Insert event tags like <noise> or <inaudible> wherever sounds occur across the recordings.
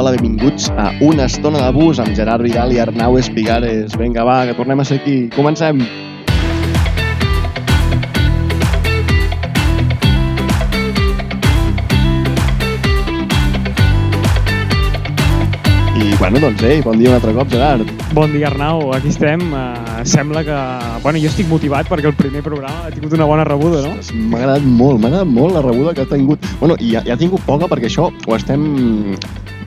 benvinguts a Una estona de bus amb Gerard Vidal i Arnau Espigares. Vinga, va, que tornem a ser aquí. Comencem! I, bueno, doncs, ei, bon dia un altre cop, Gerard. Bon dia, Arnau. Aquí estem. Uh, sembla que... Bueno, jo estic motivat perquè el primer programa ha tingut una bona rebuda, no? Ostres, M'ha agradat molt, m'ha agradat molt la rebuda que ha tingut. Bueno, i ha, i ha tingut poca perquè això ho estem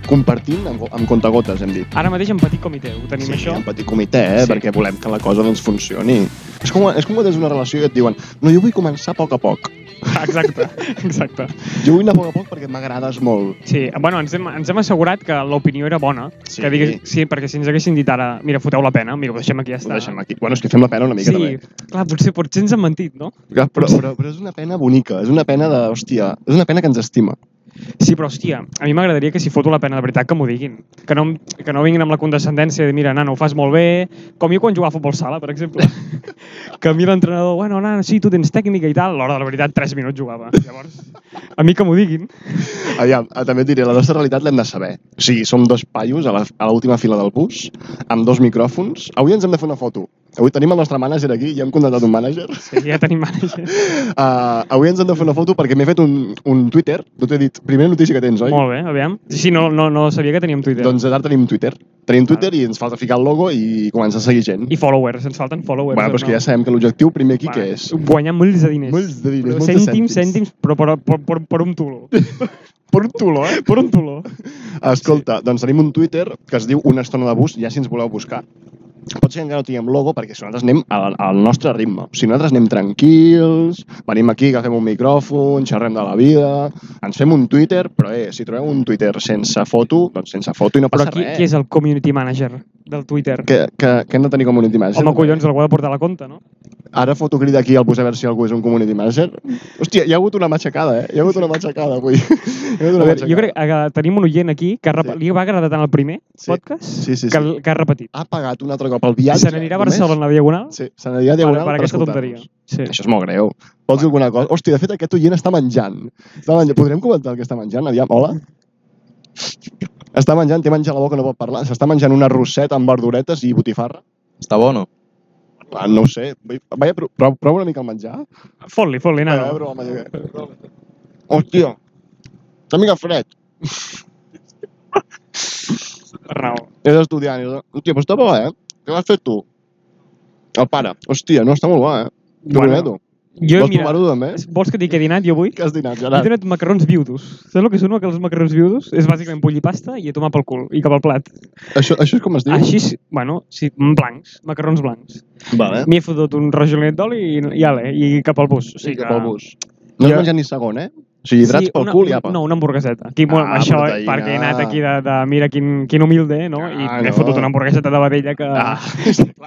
compartint amb, amb contagotes, hem dit. Ara mateix en petit comitè ho tenim, sí, això. un petit comitè, eh? Sí. sí. perquè volem que la cosa doncs, funcioni. És com, és com quan tens una relació i et diuen no, jo vull començar a poc a poc. <laughs> Exacte, exacte. Jo vull anar a poc a poc perquè m'agrades molt. Sí, bueno, ens hem, ens hem assegurat que l'opinió era bona. Sí. Que digues, sí, perquè si ens haguessin dit ara, mira, foteu la pena, mira, ho deixem aquí, ja Ho està. deixem aquí. Bueno, és que fem la pena una mica Sí, també. clar, potser, potser ens han mentit, no? Clar, Però, però, però és una pena bonica, és una pena de, hòstia, és una pena que ens estima. Sí, però hòstia, a mi m'agradaria que si foto la pena de veritat que m'ho diguin. Que no, em- que no vinguin amb la condescendència de mira, nano, ho fas molt bé, com jo quan jugava a futbol sala, per <laughs> exemple. que a mi l'entrenador, bueno, nano, sí, tu tens tècnica i tal, a l'hora de la veritat 3 minuts jugava. Llavors, a mi que m'ho diguin. Aviam, ah, també et diré, la nostra realitat l'hem de saber. O sigui, som dos paios a la- a l'última fila del bus, amb dos micròfons. Avui ens hem de fer una foto. Avui tenim el nostre mànager aquí, ja hem contractat un mànager. <laughs> Sí, ja tenim mànager. Uh, avui ens hem de fer una foto perquè m'he fet un, un Twitter. No t'he dit, primera notícia que tens, oi? Molt bé, aviam. Sí, no, no, no sabia que teníem Twitter. Doncs ara tenim Twitter. Tenim Twitter i ens falta ficar el logo i començar a seguir gent. Ah. I followers, ens falten followers. bueno, però és que ja sabem que l'objectiu primer aquí Bueno, què és? Guanyar molts de diners. Molts de diners, Però molts de cèntims, cèntims. cèntims, però per, per, per, per un tulo. <laughs> Per un tuló, eh? per un tulo. Escolta, doncs tenim un Twitter que es diu Una estona de bus, ja si ens voleu buscar. Pot ser que encara no tinguem logo perquè si nosaltres anem al, al nostre ritme. Si nosaltres anem tranquils, venim aquí, agafem un micròfon, xerrem de la vida, ens fem un Twitter, però eh, si trobeu un Twitter sense foto, doncs sense foto i no Però passa qui, res. qui és el community manager del Twitter? que, que, que hem de tenir community manager. Home, collons, algú ha de portar la compte, no? Ara foto crida aquí al bus a veure si algú és un community manager. Hòstia, hi ha hagut una matxacada, eh? Hi ha hagut una matxacada avui. <laughs> Hi ha hagut A una veure, matxacada. jo crec que tenim un oient aquí que ha rep... Sí. li va agradar tant el primer Sí. podcast Sí, sí, Que, sí. que ha repetit. Ha pagat un altre cop el viatge. Se n'anirà a només. Barcelona a Diagonal Sí, se n'anirà a Diagonal per, per aquesta escoltar-nos. tonteria. Sí. Això és molt greu. Vols dir alguna cosa? Hòstia, de fet, aquest oient està menjant. Està menjant. Podrem comentar el que està menjant? Aviam, hola? Està menjant, té menjar a la boca, no pot parlar. S'està menjant una rosseta amb verduretes i botifarra. Està bo, no? Ah, No ho sé. Vaja, pro- prova prova una mica el menjar. Fot-li, fot-li, Vaja, nano. broma, jo què. Hòstia, una mica fred. Arnau. És estudiant. És... Hòstia, però està bo, eh? Què vas fer tu? El pare. Hòstia, no, està molt bo, eh? T'ho Bueno, prometo. Jo, Vols eh? mira, provar-ho també? vols que et digui què he dinat jo avui? Què has dinat, He Gerard? donat macarrons viudos. Saps el que són els macarrons viudos? És bàsicament bullir pasta i a tomar pel cul i cap al plat. Això, això és com es diu? Així, sí- bueno, sí, blancs, macarrons blancs. Vale. Eh? M'hi he fotut un rajolinet d'oli i, i ale, i cap al bus. O Sí, sigui cap que- al bus. No has Jo- menjat ni segon, eh? O sigui, hidrats pel una, cul i una- apa. No, una hamburgueseta. Aquí, bueno, Ah, això, proteïna. eh, perquè he anat aquí de, de mira quin, quin humilde, no? I Ah, m'he no. fotut una hamburgueseta de vedella que... <laughs> Ah.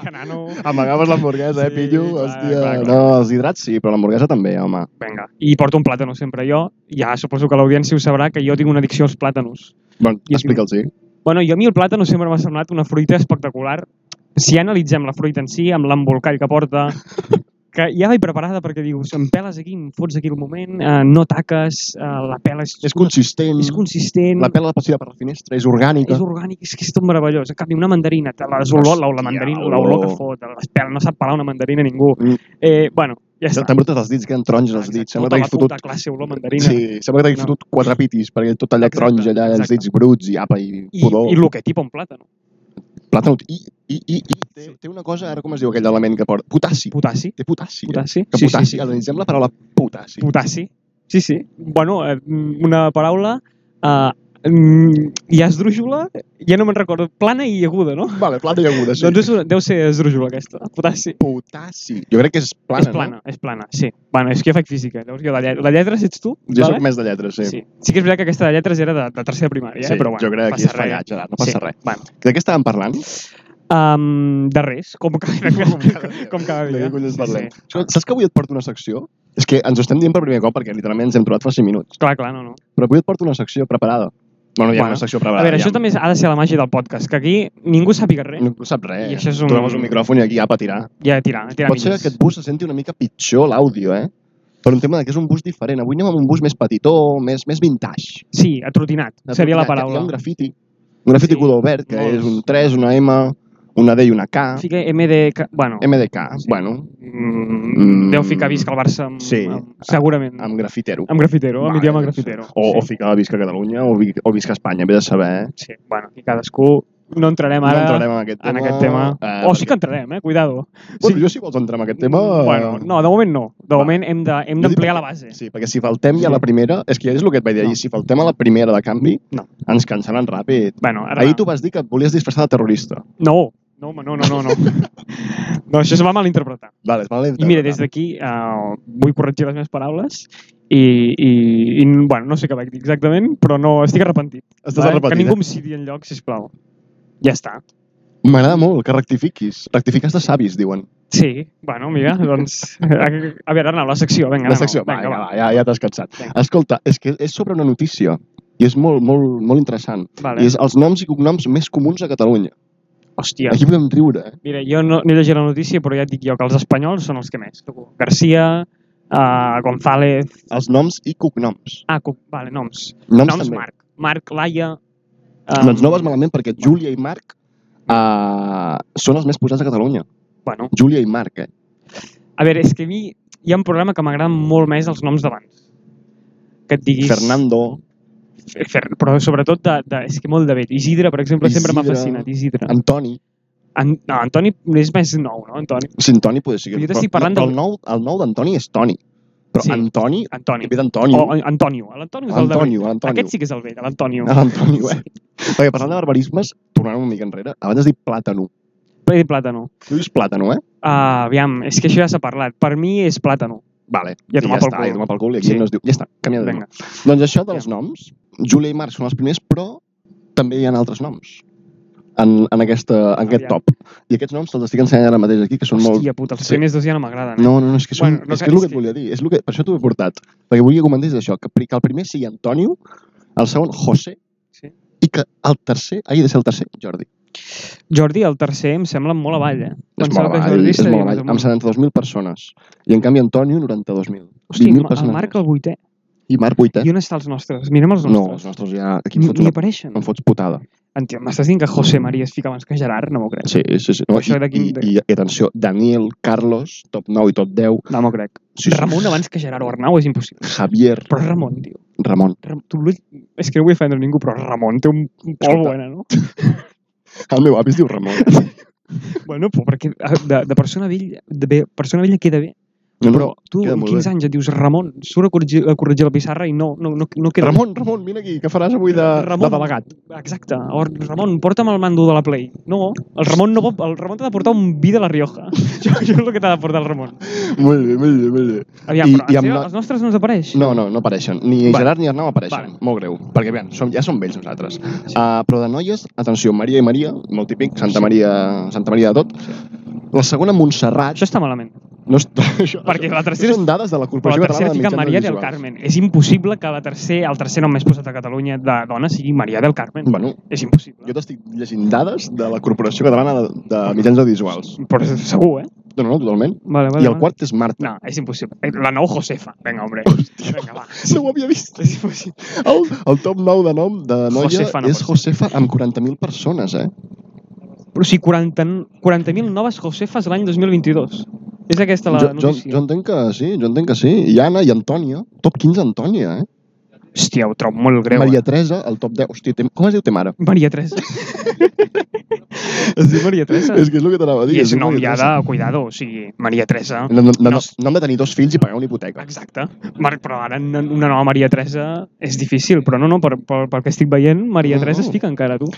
que nano... Amagaves l'hamburguesa, eh, Sí, pillo? clar, Hòstia, clar, clar. no, els hidrats sí, però l'hamburguesa també, home. Vinga. I porto un plàtano sempre. Jo, ja suposo que l'audiència ho sabrà, que jo tinc una addicció als plàtanos. Bueno, I- explica'ls sí. Bueno, jo a mi el plàtano sempre m'ha semblat una fruita espectacular. Si ja analitzem la fruita en si, amb l'embolcall que porta, <laughs> que ja vaig preparada perquè dius, em peles aquí, em fots aquí el moment, eh, no taques, eh, la pela és, És consistent, és consistent. la pela de passió per la finestra és orgànica. És orgànic, és que és tot meravellós. En canvi, una mandarina, te la olor, la, la mandarina, olor. l'olor que fot, les peles, no sap pelar una mandarina ningú. oh. Mm. Eh, bueno, ja està. T'embrutes els dits, queden taronges els Exacte, dits. Sembla tota que la t'haguis fotut... puta classe olor a mandarina. Sí, sembla que t'haguis No. fotut quatre pitis, perquè tot allà Exacte, taronja, allà els exacte. dits bruts i apa, i I, pudor. I el que tipa un plàtano. Plàtano. I, i, i, i té, té una cosa, ara com es diu aquell element que porta? Potassi. Potassi. Té potassi. eh? Potassi. Que Sí, potassi, sí, sí. analitzem la paraula potassi. Potassi. Sí, sí. Bueno, eh, mm, una paraula... Eh, mm, ja esdrújula, ja no me'n recordo, plana i aguda, no? Vale, plata i aguda, sí. Doncs és una, deu ser esdrújula aquesta, potassi. potassi. Jo crec que és plana, és plana, és plana, sí. Bueno, és que jo faig física, llavors jo de, lletres, de lletres ets tu? no? Jo soc més de lletres, sí. Sí. sí que és veritat que aquesta de lletres era de, de tercera primària, eh? però bueno, jo crec que aquí passa és res. fallat, Gerard, no passa Sí. res. Bueno, De què estàvem parlant? um, de res, com <laughs> cada, com cada, De dia. què collons parlem? Escolta, Saps que avui et porto una secció? És que ens ho estem dient per primer cop perquè literalment ens hem trobat fa 5 minuts. Clar, clar, no, no. Però avui et porto una secció preparada. Bueno, hi ha Bueno, una secció A preparada. veure, ja. això també ha de ser la màgia del podcast, que aquí ningú sàpiga res No sap res. I això és un- Tu agafes un micròfon i aquí apa, a tirar. i a tirar, a tirar Pot ser que milles. aquest bus se senti una mica pitjor l'àudio, eh? Per un tema de que és un bus diferent. Avui anem amb un bus més petitó, més, més vintage. Sí, atrotinat, seria la Hi ha paraula. un grafiti. Un grafiti Sí, sí, color verd, que molts. és un 3, una M, una D i una K. Sí. Fica MDK... Bueno, MDK, Sí. sí. bueno, mm, Mm. deu ficar visca al Barça amb, Sí. amb, segurament. amb grafitero. Amb grafitero, amb Vale, idioma doncs. grafitero. O, o sí. ficar visca Catalunya o, vi- o visca Espanya, ve de saber. Eh? sí, bueno, aquí cadascú... No entrarem no ara entrarem en aquest tema. en aquest tema. Eh, o sí que perquè- entrarem, eh? Cuidado. Bueno, sí. Jo, si vols entrar en aquest tema... eh, Bueno, no, de moment no. De va. moment hem de- hem jo dic d'ampliar perquè- la base. Sí, perquè si faltem ja a Sí. la primera... És que ja és el que et vaig dir No. ahir. Si faltem a la primera de canvi, No. ens cansaran ràpid. Bueno, ara... Ara... Ahir tu vas dir que et volies disfressar de terrorista. No, no, home, no, <laughs> no, no. No, no això es va malinterpretar. Vale, es va I mira, des d'aquí uh, vull corregir les meves paraules i, i, i, bueno, no sé què vaig dir exactament, però no, estic arrepentit. Estàs eh? arrepentit, Que ningú em citi enlloc, sisplau. Ja està. eh? M'agrada molt que rectifiquis. Rectifiques de savis, diuen. Sí, bueno, mira, doncs... <laughs> A, a veure, Arnau, la secció, vinga, la Arnau, secció. Ah, Vinga, va, va, ja, ja t'has cansat. Vinga. Escolta, és que és sobre una notícia i és molt, molt, molt interessant. Vale. I és els noms i cognoms més comuns a Catalunya. Hòstia, Aquí podem riure, eh? mira, jo no, no he llegit la notícia, però ja et dic jo que els espanyols són els que més. Garcia, uh, González... Els noms i cognoms. Ah, Cuc- vale, noms. Noms, noms també. Marc. Marc, Laia... eh, Um... Doncs no vas malament perquè Va. Júlia i Marc uh, són els més posats a Catalunya. Bueno, Júlia i Marc, eh? a veure, és que a mi hi ha un programa que m'agrada molt més els noms d'abans. Que et diguis... Fernando, Fer, però sobretot, de, de, és que molt de vell. Isidre, per exemple, sempre m'ha Isidre. fascinat. Isidre. Antoni. An no, Antoni és més nou, no, Antoni? Sí, Antoni poder ser. Jo t'estic parlant del... del- El nou, el nou d'Antoni és Toni. Però Sí. sí. Antoni, Antoni. que ve d'Antonio. O An- Antonio. L'Antonio és el de vell. Antonio, Antonio. Aquest sí que és el vell, l'Antonio. L'Antonio, eh? Perquè parlant de barbarismes, tornant una mica enrere, abans has dit plàtano. He dit plàtano. Tu dius plàtano, eh? Uh, aviam, és que això ja s'ha parlat. Per mi és plàtano. Vale. I a tomar ja pel està, cul. I a tomar pel cul. I aquí Sí. sí. no es diu... Ja està, canvia de tema. Vinga. Doncs això dels noms, Júlia i Marc són els primers, però també hi ha altres noms en, en, aquesta, en aquest Aviam. top. I aquests noms te'ls estic ensenyant ara mateix aquí, que són molt... Hòstia puta, els sí. primers dos ja no m'agraden. eh? No, no, no, és que, són, Bueno, no bueno, és, que cal- és el és que et que- volia dir. És el que, per això t'ho he portat. Perquè volia que comentés això, que, pri- que el primer sigui Antonio, el segon José, Sí. i que el tercer, ahir de ser el tercer, Jordi. Jordi, el tercer, em sembla molt avall, eh? És molt Pensava que avall, Jordi és seria molt avall. més Amb 72.000 persones. I en canvi Antonio, 92.000. Hosti, 20.000 el persones. Marc el vuitè. I Marc, 8, I eh? on estan els nostres? Mirem els No, nostres. els nostres ja... Aquí em ni, fots, ni una... apareixen. em fots putada. Entia, M'estàs dient que José María es fica abans que Gerard? No m'ho crec. Sí, sí, sí. No, Això i, era i, quin- i, I atenció, Daniel, Carlos, top 9 i top 10. No m'ho crec. Sí, sí. Ramon abans que Gerard o Arnau és impossible. Javier, Però Ramon, tio. Ramon. Ram tu, vull- és que no vull ofendre ningú, però Ramon té un, eh, un pol Escolta. buena, no? El meu avi es diu <laughs> Ramon. Bueno, però perquè eh, de, de persona vella, de bé, persona vella queda bé. No, Però tu, Mm-hmm. queda amb molt 15 anys, et dius Ramon, surt a corregir, a corregir la pissarra i no, no, no, no queda Ramon, Ramon, vine aquí, què faràs avui de, de delegat? Exacte. O Ramon, porta'm el mando de la Play. No, el Ramon no pot, el Ramon t'ha de portar un vi de la Rioja. <laughs> això, això és el que t'ha de portar el Ramon. Molt bé, molt bé, molt bé. Aviam, I- però i els, amb teus- la- els nostres no ens apareix. No, no, no apareixen. Ni Vale. Gerard ni Arnau apareixen. Vale. Molt greu. Perquè, aviam, som, ja som vells nosaltres. Uh, però de noies, atenció, Maria i Maria, molt típic, Santa Maria, Santa Maria de tot. La segona, Montserrat. Això està malament. No està, això, Perquè la això tercera és... <laughs> són dades de la Però Corporació la tercera Catalana de fica Mitjans Maria del Audiovisuals. Carmen. És impossible que la tercer, el tercer nom més posat a Catalunya de dona sigui Maria del Carmen. Bueno, És impossible. Mm. jo t'estic llegint dades de la Corporació Catalana de, de Mitjans Audiovisuals. Però segur, eh? No, no, no, totalment. Vale, vale, I el vale. quart és Marta. No, és impossible. Eh, La nou Josefa. Vinga, hombre. Vinga, va. <laughs> No ho havia vist. És impossible. El, el top 9 de nom de noia Josefa, no és pot ser. Josefa amb 40.000 persones, eh? Però sí, 40 40.000 noves Josefes l'any 2022. És aquesta la jo, jo, notícia. jo entenc que sí, jo entenc que sí. I Anna i Antònia, top 15 Antònia, eh? Hòstia, ho trobo molt greu. Maria Maria, Teresa, el top 10. Hòstia, tem, com es diu te mare? eh? Maria <laughs> Teresa. <laughs> es diu Maria Teresa. És que és el que t'anava a dir. I és diu nom Maria ja de Teresa. cuidado, o sigui, Maria Teresa. No, no, no, No. no, no hem de tenir dos fills i pagar una hipoteca. Exacte. Marc, però ara n- una nova Maria Teresa és difícil, però no, no, per, per, pel que estic veient, Maria No, Teresa no. es fica encara, tu.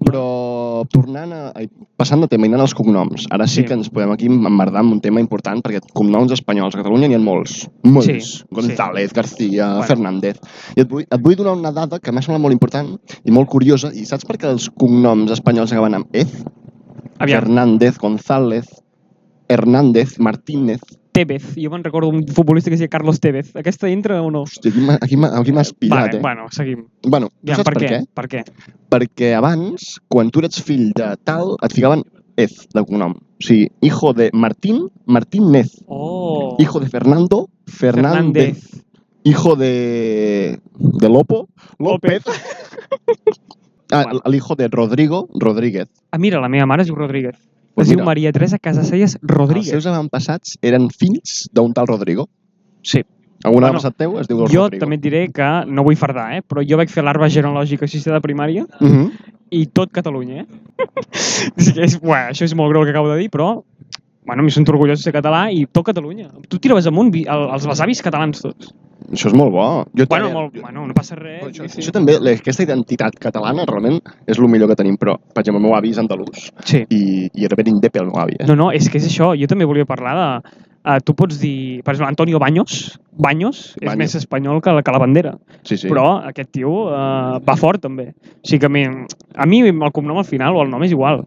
Però tornant a... Ai, passant de tema i anant als cognoms, ara sí, Sí. que ens podem aquí emmerdar amb un tema important, perquè cognoms espanyols a Catalunya n'hi ha molts. Molts. Sí, González, García, Bueno. Fernández... I et vull, et vull donar una dada que m'ha semblat molt important i molt curiosa, i saps per què els cognoms espanyols acaben amb ez? Aviam, Fernández, González, Hernández, Martínez... Tevez. Jo me'n recordo un futbolista que es deia Carlos Tevez. Aquesta entra o no? Hòstia, aquí m'ha- aquí m'ha aquí m'ha espirat, vale, eh? bueno, seguim. Bueno, tu Aviam, saps per, per què? Per què? Perquè abans, quan tu eres fill de tal, et ficaven ez, de cognom. O sigui, hijo de Martín, Martínez. Oh. Hijo de Fernando, Fernández. Hijo de... de Lopo, López. <laughs> Ah, l'hijo de Rodrigo Rodríguez. Ah, mira, la meva mare es diu Rodríguez. Pues es diu mira. Maria Teresa Casaselles Els Rodríguez. seus avantpassats eren fills d'un tal Rodrigo. Sí. Algun Bueno, bueno, avantpassat teu es diu Jo Rodrigo. també et diré que no vull fardar, eh? però jo vaig fer l'arba genealògica a sisè de primària Uh -huh. i tot Catalunya. Eh? <laughs> és, que és, buah, això és molt greu el que acabo de dir, però bueno, em sento orgullós de ser català i tot Catalunya. Tu tiraves amunt vi- el, els besavis catalans tots. Això és molt bo. Jo Bueno, també- molt, jo- bueno, no passa res. Però Això, vull dir, això també, la- aquesta identitat catalana realment és el millor que tenim, però, per exemple, el meu avi és andalús Sí. i, i era ben indepe el meu avi. Eh? No, no, és que és això. Jo també volia parlar de... Uh, tu pots dir, per exemple, Antonio Baños. Baños és Baños. més espanyol que la, que la bandera. sí, sí. Sí. Però aquest tio uh, va fort, també. O sigui que a mi, a mi el cognom al final o el nom és igual.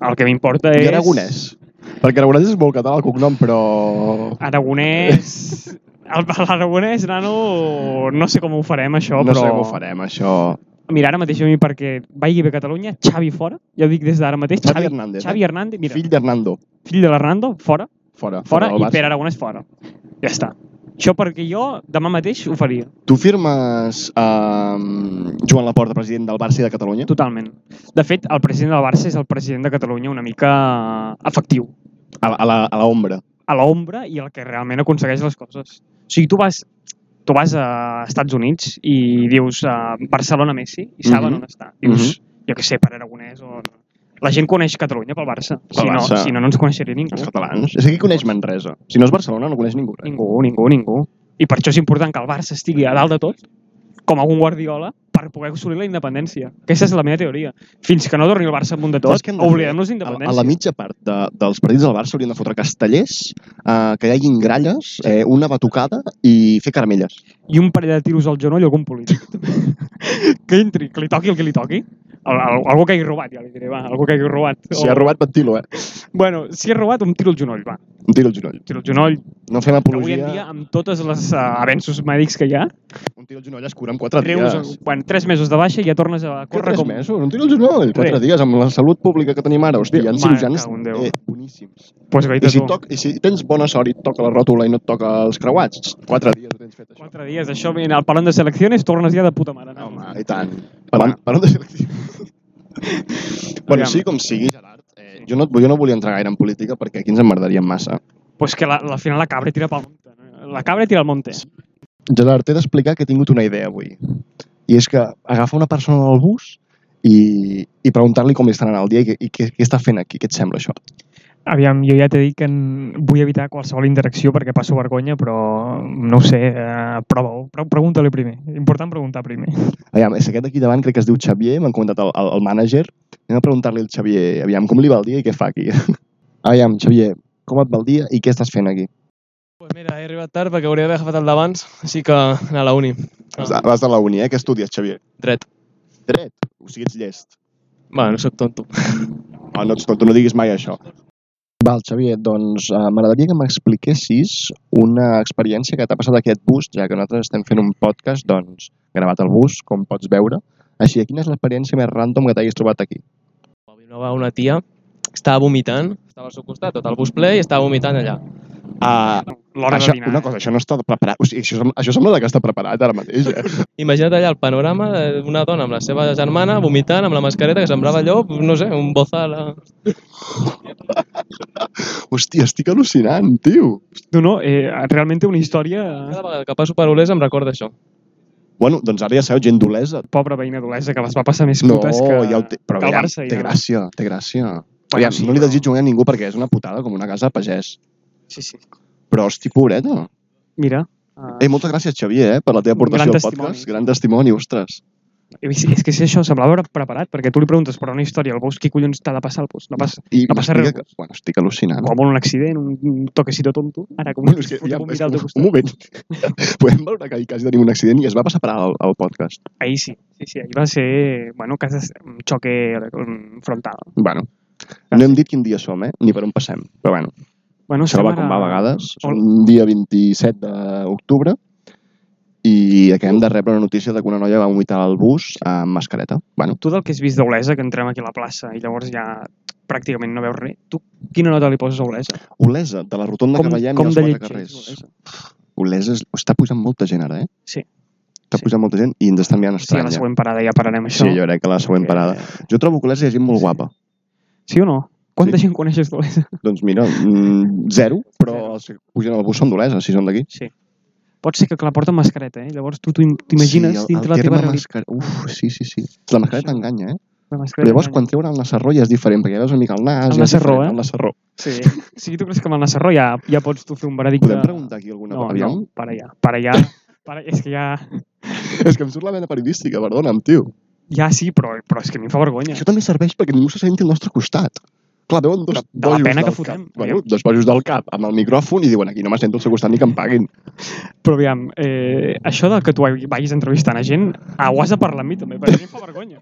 El que m'importa és... I aragonès. Perquè aragonès és molt català el cognom, però... <laughs> Aragonès... El- L'aragonès, nano, no sé com ho farem, això, no però... sé com ho farem, això. Mira, ara mateix a mi perquè vagi bé Catalunya, Xavi fora, ja ho dic des d'ara mateix. Xavi Hernández, Xavi eh? Hernández, mira, Fill d'Hernando. fill de l'Hernando, fora. Fora. fora, del i Barça. Pere Aragonès fora. Ja està. Això perquè jo demà mateix ho faria, Tu firmes um, Joan Laporta, president del Barça i de Catalunya? totalment. De fet, el president del Barça és el president de Catalunya una mica efectiu, A, a la- a l'ombra. a l'ombra i el que realment aconsegueix les coses. O sigui, tu vas, tu vas a Estats Units Mm-hmm. i dius uh, Barcelona Messi i saben Mhm. on està. Dius, jo què sé, per Aragonès o... La gent coneix Catalunya pel Barça. Pel si, Barça. No, si no, no ens coneixeria ningú. Els catalans. És que qui coneix Manresa? Si no és Barcelona, no coneix ningú. res. Ningú, ningú, ningú. I per això és important que el Barça estigui a dalt de tot, com algun Guardiola, per poder assolir la independència. Aquesta és la meva teoria. Fins que no torni el Barça amunt de tot, Saps què hem de fer? oblidem-nos A, Doncs d'independència. a la mitja part de, dels partits del Barça haurien de fotre castellers, eh, que hi haguin gralles, eh, una batucada i fer caramelles. I un parell de tiros al genoll i algun <laughs> polític. que entri, que li toqui el que li toqui. Al, al, algú que hagi robat, ja li diré, va, algú que hagi robat. Si ha robat, ventilo, eh? Bueno, si ha robat, un tiro al genoll, va. Un Un tiro al genoll. tiro al genoll. No fem Que avui apologia. en dia, amb totes les uh, avenços mèdics que hi ha, Un tiro al genoll es cura en 4 treus, dies. quan tres mesos de baixa ja tornes a Què, córrer tres com... mesos? Un tiro al genoll. 4 Res. dies, amb la salut pública que tenim ara. Hòstia, hi ha Mare, cirurgians cago en Déu. eh, boníssims. Pues, I si, toc, I si tens bona sort i et toca la ròtula i no et toca els creuats, 4 dies ho tens fet, això. Quatre dies, això, mira, al parlant de selecciones tornes ja de puta mare. No, home, i tant. Parlant, parlant de selecció. <laughs> bueno, Aviam. sí, com sigui, Gerard, eh, jo, no, jo no volia entrar gaire en política perquè aquí ens emmerdaríem massa. Pues que la, al final la cabra tira pel monte. no? La cabra tira al monte. Gerard, t'he d'explicar que he tingut una idea avui. I és que agafa una persona del bus i, i preguntar-li com li està anant el dia i, què- i què, què està fent aquí. Què et sembla, això? Aviam, jo ja t'he dit que en... vull evitar qualsevol interacció perquè passo vergonya, però no ho sé, eh, prova-ho. Pre Pregunta-li primer. Important preguntar primer. Aviam, és aquest d'aquí davant crec que es diu Xavier, m'han comentat el, el, el mànager. Anem a preguntar-li al Xavier, aviam, com li va el dia i què fa aquí? <laughs> aviam, Xavier, com et va el dia i què estàs fent aquí? Pues mira, he arribat tard perquè hauria d'haver agafat el d'abans, així que anar a la uni. Vas a- Vas a la uni, eh? Què estudies, Xavier? Dret. Dret. O sigui, ets llest. Bueno, sóc tonto. Oh, no, ets tonto, no diguis mai això. Val, Xavier, doncs eh, m'agradaria que m'expliquessis una experiència que t'ha passat aquest bus, ja que nosaltres estem fent un podcast doncs, gravat al bus, com pots veure. Així, quina és l'experiència més random que t'hagis trobat aquí? Vinova una tia, estava vomitant, estava al seu costat, tot el bus ple i estava vomitant allà. Uh, L'hora de això, dinar. una cosa, això no està preparat. O sigui, això, sem- això sembla que està preparat ara mateix. Eh? Imagina't allà el panorama d'una dona amb la seva germana vomitant amb la mascareta que semblava allò, no sé, un bozal. eh? Hòstia, estic al·lucinant, tio. No, no, eh, realment té una història... Cada vegada que passo per Olesa em recorda això. Bueno, doncs ara ja sabeu, gent dolesa. Pobra veïna d'Olesa, que les va passar més No, putes que, ja ho té, però que el mira, Barça. i té el- gràcia, té gràcia. Bueno, Aviam, sí, no li però- desitjo bé a ningú perquè és una putada com una casa de pagès. Sí, sí. Però, hosti, pobreta. Mira. Uh, Eh, moltes gràcies, Xavier, eh, per la teva aportació Gran al testimoni. podcast. Gran testimoni, ostres. és, és que si això semblava preparat, perquè tu li preguntes per una història al bus, qui collons t'ha de passar al bus? No passa, I No passa m'explica res. Que, bueno, estic al·lucinant. com un accident, un- un toquecito tonto, ara <laughs> com Bueno, és si que, fos ja, un és, viral de un, costat. un moment. <laughs> Podem veure que ahir quasi tenim un accident i es va passar per al, al podcast. Ahir sí, sí, sí, ahir va ser, bueno, que és un xoque mm, frontal. Bueno, no hem dit quin dia som, eh? Ni per on passem. Però bueno, Bueno, això estem va com va a vegades. És Ol- un dia 27 d'octubre i acabem de rebre una notícia de que una noia va vomitar al bus amb mascareta. Bueno, Tu del que has vist d'Olesa, que entrem aquí a la plaça i llavors ja pràcticament no veus res, tu quina nota li poses a Olesa? Olesa, de la rotonda que veiem i els quatre és carrers. Olesa? Olesa és... està pujant molta gent ara, eh? Sí. Està està pujant molta gent i ens està enviant Sí, a estranya. la següent parada ja pararem sí això. jo crec que la següent Eh, parada. Jo trobo que l'Olesa és gent molt guapa. Sí o no? Quanta Sí. gent coneixes d'Olesa? Doncs mira, mm, zero, però Zero. els que pugen al bus són d'Olesa, si són d'aquí. Sí. Pot ser que la porta amb mascareta, eh? Llavors tu t'ho im- t'imagines el- sí, dintre el la teva terme realitat. mascar... Uf, sí, sí, sí. La mascareta enganya, eh? La Però mascareta. llavors, quan treuen el Nassarró ja és diferent, perquè ja veus una mica el nas... El ja és Nassarró, diferent, eh? El Nassarró. Sí. sí, tu creus que amb el Nassarró ja, ja pots tu fer un veredicte... Podem preguntar aquí alguna No, cosa? no, Aviam. <laughs> para allà. Para allà. Para... És que ja... És que em surt la vena periodística, perdona'm, tio. Ja sí, però, però és que a mi em fa vergonya. Això també serveix perquè ningú se senti al nostre costat. Clar, veuen dos de la bojos pena del que fotem. Cap. Bueno, dos bojos del cap amb el micròfon i diuen aquí no me sento al seu costat ni que em paguin. Però aviam, eh, això de que tu vagis entrevistant a gent, ah, ho has de parlar amb mi també, perquè a mi em fa vergonya.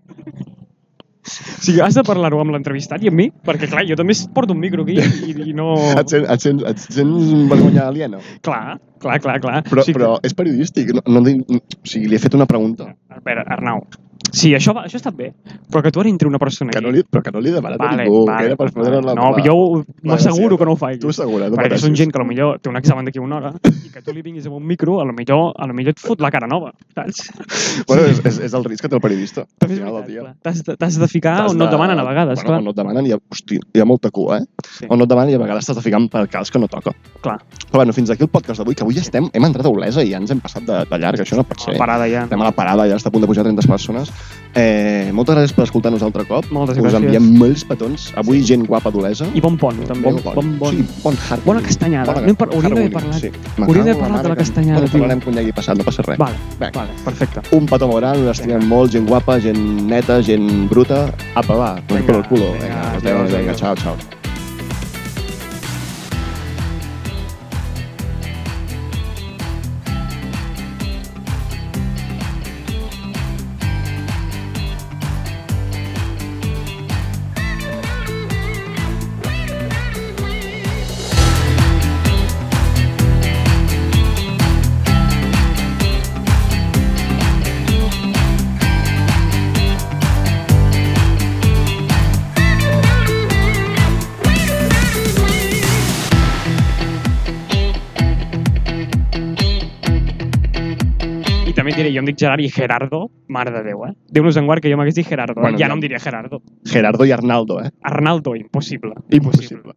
O sigui, has de parlar-ho amb l'entrevistat i amb mi, perquè clar, jo també porto un micro aquí i, i no... Et, sents, et, sents, et sents vergonya aliena. Clar, clar, clar, clar. Però, o sigui, però és periodístic. No, no, dic- o sigui, li he fet una pregunta. A veure, Arnau, sí, això, va, això està bé, però que tu ara entri una persona Que no aquí... li, però que no li he demanat a ningú, que era per fotre la... No, la- jo ho- la m'asseguro gràcia. que no ho faig. Tu assegura, no perquè pateixis. són gent que a lo millor té un examen d'aquí una hora i que tu li vinguis amb un micro, a lo millor, a lo millor et fot la cara nova, <laughs> saps? Bueno, és, és, és el risc que té el periodista. Al També és final del dia. veritat, clar. T'has de, t'has de ficar T'has on Ah, no de- et demanen a vegades, bueno, On no et demanen, hi ha, hosti, hi ha molta cua, eh? Sí. Sí. On no et demanen i a vegades t'has de ficar pel cas que no toca. clar. clar. Però bueno, fins aquí el podcast d'avui, que avui ja estem, hem entrat a Olesa i ja ens hem passat de, de llarg, això no pot A ser. la parada ja. Estem a la parada, ja està a punt de pujar 30 persones. Eh, moltes gràcies per escoltar-nos altre cop. Moltes Us gràcies. enviem molts petons. Avui gent guapa d'Olesa. I bon pont, també. Bon, bon, bon. Sí, bon hard. Bona castanyada. No hem par- hauríem d'haver parlat- hauríem d'haver parlat de la castanyada, Bueno, tio. parlarem quan hi hagi passat, no passa res. Vale, Vinga. vale, perfecte. Un petó molt gran, l'estimem molt, gent guapa, gent neta, gent bruta. Apa, va, Vinga, vinga, pel culo. vinga, Vinga, adiós, vinga, vinga, adiós. xau, xau. I també et diré, jo em dic Gerard i Gerardo, mare de Déu, eh? Déu-nos en guard que jo m'hagués dit Gerardo, Bueno, bueno, ja ja. no em diria Gerardo. Gerardo i Arnaldo, eh? Arnaldo, impossible. Impossible.